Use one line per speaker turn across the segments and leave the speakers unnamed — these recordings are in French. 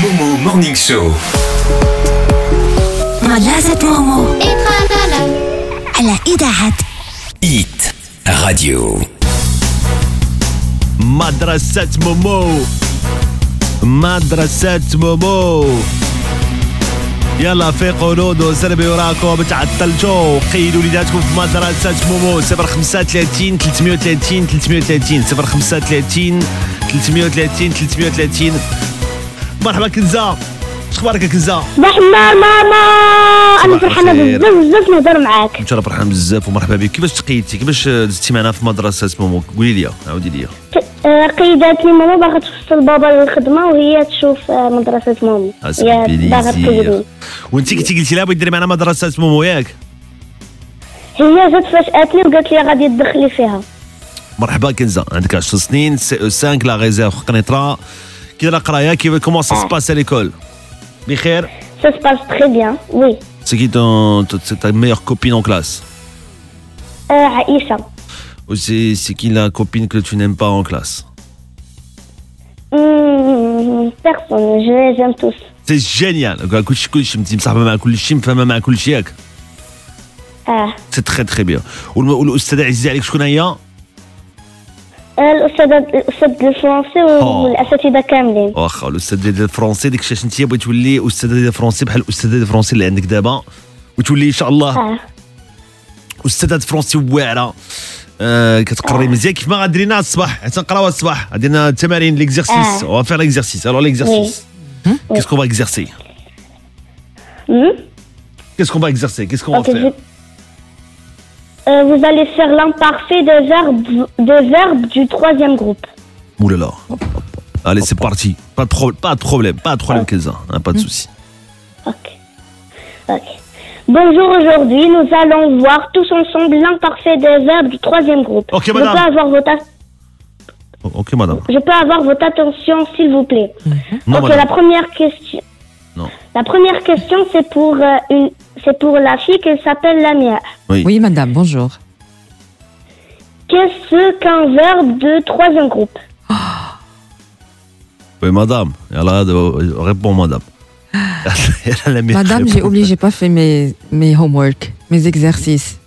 Momo Morning Show.
مدرسة مومو على إذاعة
Hit Radio.
مدرسة مومو مدرسة مومو يلا فيقوا نوضوا سربي وراكم تعطلتوا قيدوا وليداتكم في مدرسة مومو 035 330 330 035 330 330 مرحبا كنزة شخبارك يا كنزة
مرحبا ماما
صباح
انا فرحانه
الخير.
بزاف بزاف نهضر معاك
انت راه فرحان بزاف ومرحبا بك كيفاش تقيدتي كيفاش آه، دزتي معنا في مدرسة مومو قولي لي عاودي لي
آه، قيداتني ماما باغا تفصل بابا للخدمه وهي تشوف آه، مدرسه ماما
Ah, ça fait
هي باغا
plaisir.
تقيدني
وانت كنتي قلتي لها بغيت ديري معنا مدرسة مومو ياك
هي جات فاجاتني وقالت لي غادي تدخلي فيها
مرحبا كنزة عندك 10 سنين سي او 5 لا ريزيرف قنيطرة كي راه قرايه كيف كومون سا سباس ليكول بخير
سا سباس تخي بيان وي
سي كي تون سي تا ميور كوبين اون كلاس
آه، عائشه
ou c'est c'est qui la copine que tu n'aimes pas en classe
مم، بيرسون جو جيم توس
سي جينيال كلشي كلشي انت مصاحبه مع كلشي مفهمه مع كلشي ياك
اه
سي تخي تخي بيان والم- والاستاذه عزيزه عليك شكون هي
آه، الاستاذه الاستاذ ديال الفرنسي
آه.
والاساتذه كاملين
واخا الاستاذ ديال الفرونسي ديك الشاشه انت بغيت تولي استاذه ديال الفرونسي بحال الاستاذه ديال الفرونسي اللي عندك دابا وتولي ان شاء الله
اه
استاذه فرونسي واعره آه كتقري مزيان كيف ما غادير لنا الصباح حتى نقراوها الصباح غادي لنا التمارين ليكزيرسيس
آه.
اون فير ليكزيرسيس الو ليكزيرسيس كيس كون با اكزيرسي
مم.
كيس كون با اكزيرسي كيس كون
Ok,
فير
je- Euh, vous allez faire l'imparfait des verbes, des verbes du troisième groupe.
مولالا Allez, c'est parti. Pas de, pro- pas de problème, pas de problème, Kenza. Hein, pas de souci.
Ok. Ok. Bonjour, aujourd'hui, nous allons voir tous ensemble l'imparfait des verbes du troisième groupe.
Ok,
je, peux
madame.
avoir votre a-
O- Oh, Ok, madame.
je peux avoir votre attention, s'il vous plaît.
Non,
ok, la
madame.
première question.
Non.
La première question, c'est pour, euh, une, c'est pour la fille qui s'appelle Lamia.
Oui, madame, bonjour.
Qu'est-ce qu'un verbe de troisième groupe
Oui, madame. Alors, euh, réponds, madame. Elle a mis-
Madame, j'ai
répond.
oublié, j'ai pas fait mes, mes homework, mes exercices.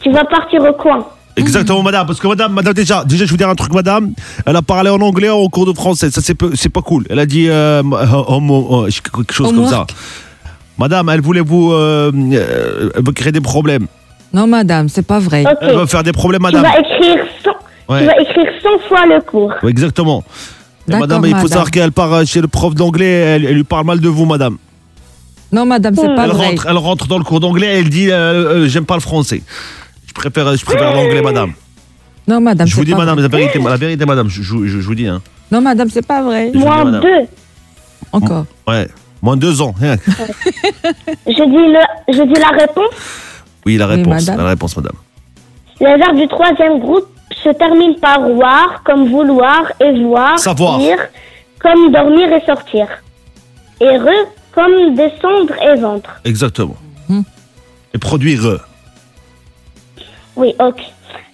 Tu vas partir au coin.
Mmh.
Exactement, madame. Parce que madame, madame, déjà, déjà, je vous dire un truc, madame. Elle a parlé en anglais en cours de français. Ça, c'est peu- c'est pas cool. Elle a dit euh, homo- euh, quelque chose comme ça.
Homework.
Madame, elle voulait vous euh, euh, elle veut créer des problèmes.
Non, madame, c'est pas vrai.
Ok.
Elle veut faire des problèmes,
Tu
madame.
vas écrire 100,
Ouais.
tu vas écrire 100 fois le cours.
Ouais, exactement. Et
D'accord,
madame, il faut
madame.
savoir qu'elle part euh, chez le prof d'anglais, elle, elle lui parle mal de vous, madame.
Non, madame, c'est pas
elle,
vrai.
rentre, elle rentre dans le cours d'anglais, elle dit euh, euh, J'aime pas le français. Je préfère, euh, je préfère l'anglais, madame.
Non, madame,
Je vous
c'est
dis,
pas
madame,
vrai.
la vérité, la vérité, madame, je, je- je- je vous dis. Hein.
Non, madame, c'est pas vrai.
Je vous dis,
Moins
madame.
2.
Encore.
Ouais, moins deux ans. hein.
Je dis, le, je dis la réponse.
Oui, la
Oui,
réponse,
madame.
la réponse, madame.
Les verbes du troisième groupe se terminent par voir, comme vouloir et voir.
Savoir.
Dire, comme dormir et sortir. Et re, comme descendre et vendre.
Exactement.
Mhm.
Et produire. euh,
Oui, ok.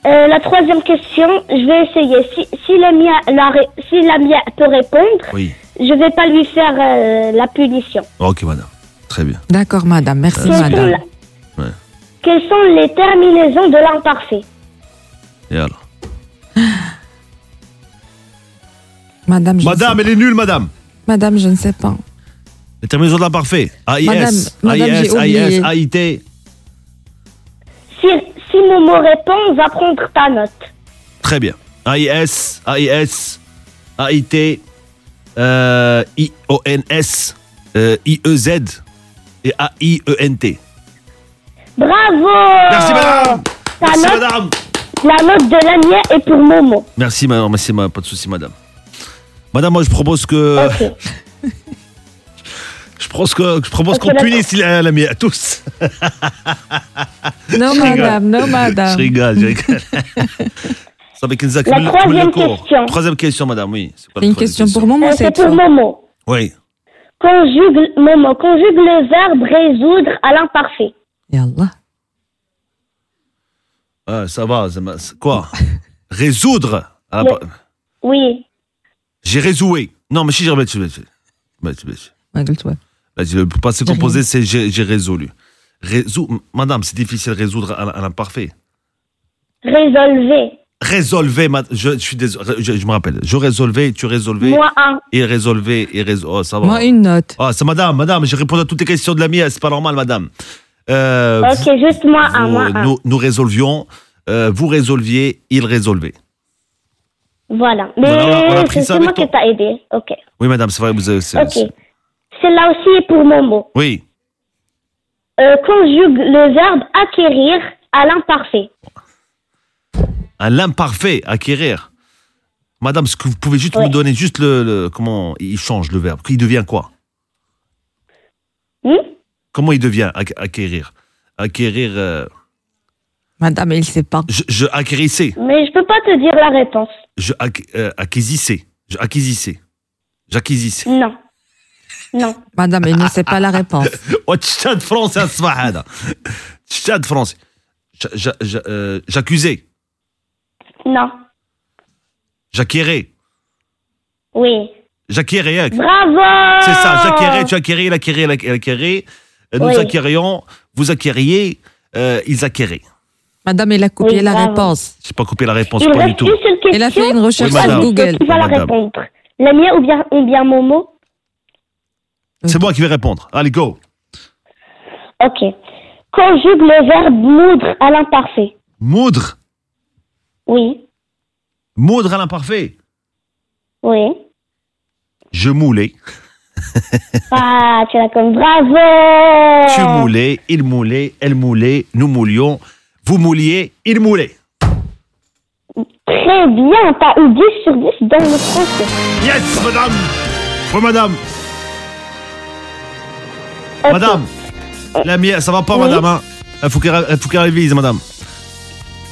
Euh, la troisième question, je vais essayer. Si, si, la mia, la, ré- si la mia peut répondre,
Oui.
je vais pas lui faire euh, la punition.
Ok, madame. Très bien.
D'accord, madame, merci,
Quelles sont
madame.
la-
Euh, Ouais.
Quelles sont les terminaisons de l'imparfait
Et alors
Madame, je
Madame,
ne sais...
elle est nulle, madame.
madame, je ne sais pas.
Les terminaisons de l'imparfait. AIS,
Madame, madame,
AIS,
j'ai oublié.
AIS, AIT.
Si, si Momo répond, on va prendre ta note.
Très bien. AIS, AIS, AIT, euh, IONS, euh, IEZ et AIENT.
Bravo
Ah.
Merci madame
Ta
Merci
note,
madame
La note de la mienne est pour Momo.
Merci madame, merci ma- pas de souci madame. Madame, moi je propose que.
Euh.
Ok. Euh,
Je propose que je propose
Ok,
qu'on
d'accord.
punisse la, la mienne à tous.
Non,
rigole.
madame, non,
Je
madame.
rigole, je rigole. Ça fait 15
La troisième question.
Troisième question, madame, oui. quoi
C'est
la
une
troisième
question pour Momo,
Euh,
cette
C'est pour
fois.
Momo.
Oui.
Conjugue, Momo, conjugue le verbe résoudre à l'imparfait.
Yallah.
Ah, ça va. ça m'a- c'est Quoi Résoudre. Ah,
Le-
bah,
Oui.
J'ai résoué. Bah, Non, mais si j'ai remis ماشي ماشي
ما قلت ouais.
ماشي le passé
J'ai
composé c'est j'ai j'ai résolu. Résou madame, c'est difficile de résoudre à l'imparfait.
Résolver.
Résolver, ma- je, je suis désolé, je, je me rappelle. Je résolvais, tu résolvais,
Moi, un.
il résolvait, il résolvait. Oh, ça va.
Moi, une note.
Ah, c'est madame, madame, j'ai répondu à toutes les questions de la mienne, c'est pas normal, madame. Euh,
Ok, juste moi, un.
vous-
Moi, un.
nous, nous résolvions, euh, vous résolviez, il résolvait.
Voilà.
Voilà, on a- on a
Mais
pris ça
c'est
avec
moi
toi.
qui t'a aidé. Ok.
Oui, madame, c'est vrai, vous avez. c'est-
Ok.
c'est-
Celle-là aussi est pour mon mot.
Oui,
Euh, conjugue le verbe acquérir à l'imparfait.
à l'imparfait, acquérir. Madame, ce que vous pouvez juste
Ouais.
me donner, juste le, le- Comment il change le verbe Il devient quoi
Hmm
Comment il devient ac- acquérir Acquérir. euh,
Madame, il sait pas.
je, je acquérissais.
Mais je peux pas te dire la réponse.
Je ac- euh, acquisissais. Je acquisissais. J'acquisissais.
Non. Non.
Madame, il ne sait pas la réponse.
Oh, تشاد فرنسي هالصباح هذا تشاد فرنسي ج- ج- ج- euh, J'accusais,
Non.
j'acquérais,
Oui.
j'acquérais. hein.
Bravo
C'est ça, j'acquérais, tu acquérais, il acquérait, elle acquérait, elle acquérait. Euh, Nous
Ah. Oui.
acquérions, vous acquériez, euh, ils acquéraient.
Madame, il a copié
Oui,
la
bravo.
réponse.
J'ai pas coupé la réponse,
Il
pas du
reste
tout.
une seule question.
Il a fait une recherche
Oui,
sur
madame.
Google.
Qui va la
Madame.
répondre La mienne ou bien, ou bien mon mot
C'est moi qui vais répondre. Allez, go.
Ok. Conjugue le verbe moudre à l'imparfait.
Moudre,
Oui.
moudre à l'imparfait.
Oui.
Je moulais,
Ah, tu l'as comme bravo
tu moulais, il moulait, elle moulait, nous moulions, vous mouliez, il moulait.
Très bien, t'as eu 10 sur 10 dans le français.
Yes, madame. Oui, madame.
Ok.
Madame, la mienne, ça va pas,
Oui.
madame. hein il faut qu'elle il faut qu'elle révise, madame.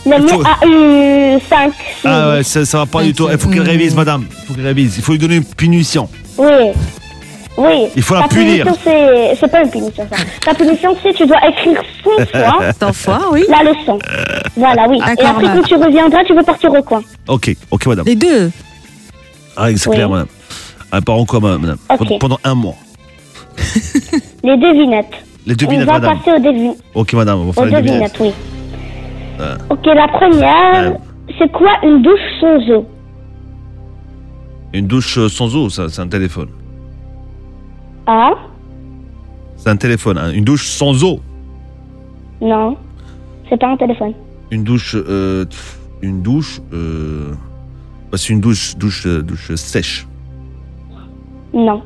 La
il
mienne
faut-
a eu 5.
Ah ouais, ça, ça va pas du tout. Il faut qu'elle révise, madame. Il faut qu'elle révise. Il faut lui donner une punition.
Oui. Oui.
Il faut la punir.
punition, c'est- c'est pas une punition, ça. Ta punition, c'est tu dois écrire 100 fois
Tant fois, oui.
la leçon. Voilà, oui. Et
D'accord,
après,
madame.
quand tu reviendras, tu peux partir au coin.
Ok, ok, madame.
Les deux.
Ah, c'est
Oui.
clair, madame. Un parent en commun, madame.
Ok.
Pendant- Pendant un mois.
Les devinettes.
Les
On
devinettes,
va
madame.
passer aux, devin-
Ok, madame, on va Ah. faire
aux
les
devinettes,
devinettes.
oui. Ok, la première,
Euh.
c'est quoi une douche sans eau
Une douche euh, sans eau, ça, c'est un téléphone.
Ah
C'est un téléphone. hein. Une douche sans eau.
Non. C'est pas un téléphone.
Une douche. euh, pff, une douche. euh, bah, c'est une douche, douche, euh, douche euh, sèche.
Non.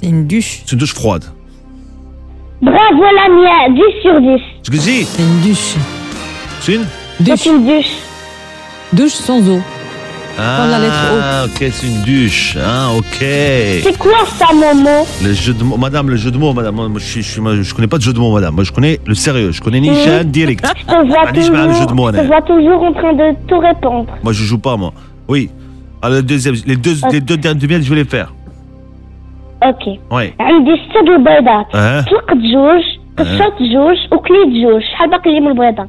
C'est une douche.
C'est une douche froide.
Bravo la mienne, 10 sur 10.
Ce que je dis,
C'est une douche.
c'est une.
Douche.
C'est une douche.
Douche sans eau. la
Ah,
lettre
ok, c'est une douche. Ah, ok.
C'est quoi ça, Momo
Le jeu de mots, madame, le jeu de mots, madame. Moi, je, suis- je, suis- moi, je connais pas de jeu de mots, madame. Moi, je connais le sérieux. Je connais Nishan
Mhm.
direct.
Je te vois
Ah, dis, je vais aller au jeu de mots,
toujours, je te
Anna.
vois toujours en train de tout répondre.
Moi, je joue pas, moi. Oui. Alors, le deuxième, les deux, les deux dernières devinettes, je vais les faire.
Ok.
Ouais. Uh-huh.
عندي السد والبيضات
أه.
طلقة جوج
Ah.
قشرت جوج وكليت جوج شحال باقي لي من البيضة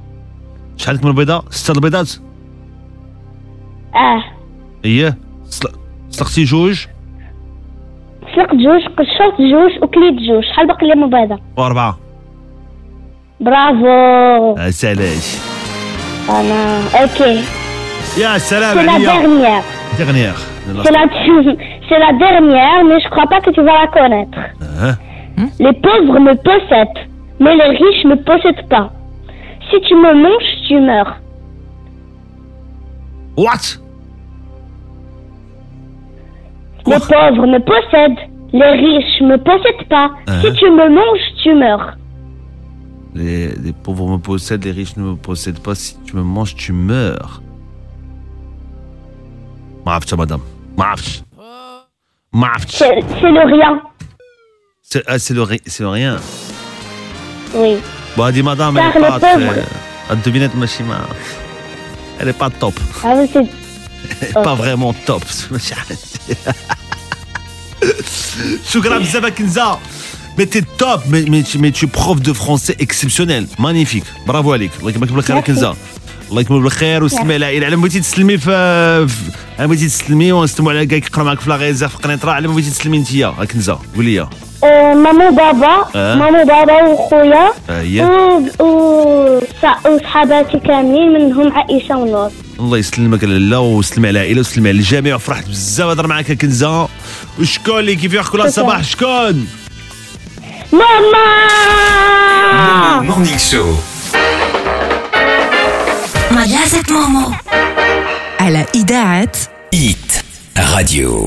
شحالك من البيضاء؟ ستة البيضات؟
اه
اييه سل- سلقتي جوج
طلقت جوج قشرت جوج وكليت جوج شحال باقي لي من البيضة
واربعة.
برافو
يا سلام.
انا اوكي
يا سلام
سي لا
عليا.
ديرنيير
Dernière.
سي لا سي لا ديرنيير مي جو كخوا با كو تو فا لا كونيتر
أه.
Les pauvres me possèdent, mais les riches me possèdent pas. Si tu me manges, tu meurs.
What?
Les pauvres me possèdent, les riches me possèdent pas.
Hein
Si tu me manges, tu meurs.
Les, les pauvres me possèdent, les riches ne me possèdent pas. Si tu me manges, tu meurs. ما عرفتش مدام ما عرفتش ما عرفتش
C'est c'est le rien.
سي آه، سي لو غي- سي لو ريان
Oui.
وهذه مدام
Parle
اللي
pauvre.
الدوبينات ماشي ما elle est pas top
Ah oui, c'est.
با فريمون توب ماشي حالتي شكرا بزاف يا كنزه مي تي توب مي مي مي تي بروف دو فرونسي اكسبسيونيل مانيفيك برافو عليك الله يكملك بالخير يا
Merci.
كنزه الله يكمل بالخير وسلمي على العائله على بغيتي تسلمي في في- انا بغيتي تسلمي ونسلموا على كاع كيقرا معاك في لا غيزة في قنيطرة على ما بغيتي تسلمي انت كنزة قولي
آه، ماما وبابا
آه.
ماما وبابا وخويا
آه، هي.
و- و- صا- وصحاباتي كاملين منهم عائشة ونور
الله يسلمك لاله وسلمي على العائله وسلمي على الجميع وفرحت بزاف هضر معاك يا كنزه وشكون اللي كيفيح كل صباح شكون
ماما
Morning Show.
مدرسة مومو
على إذاعة
Hit Radio.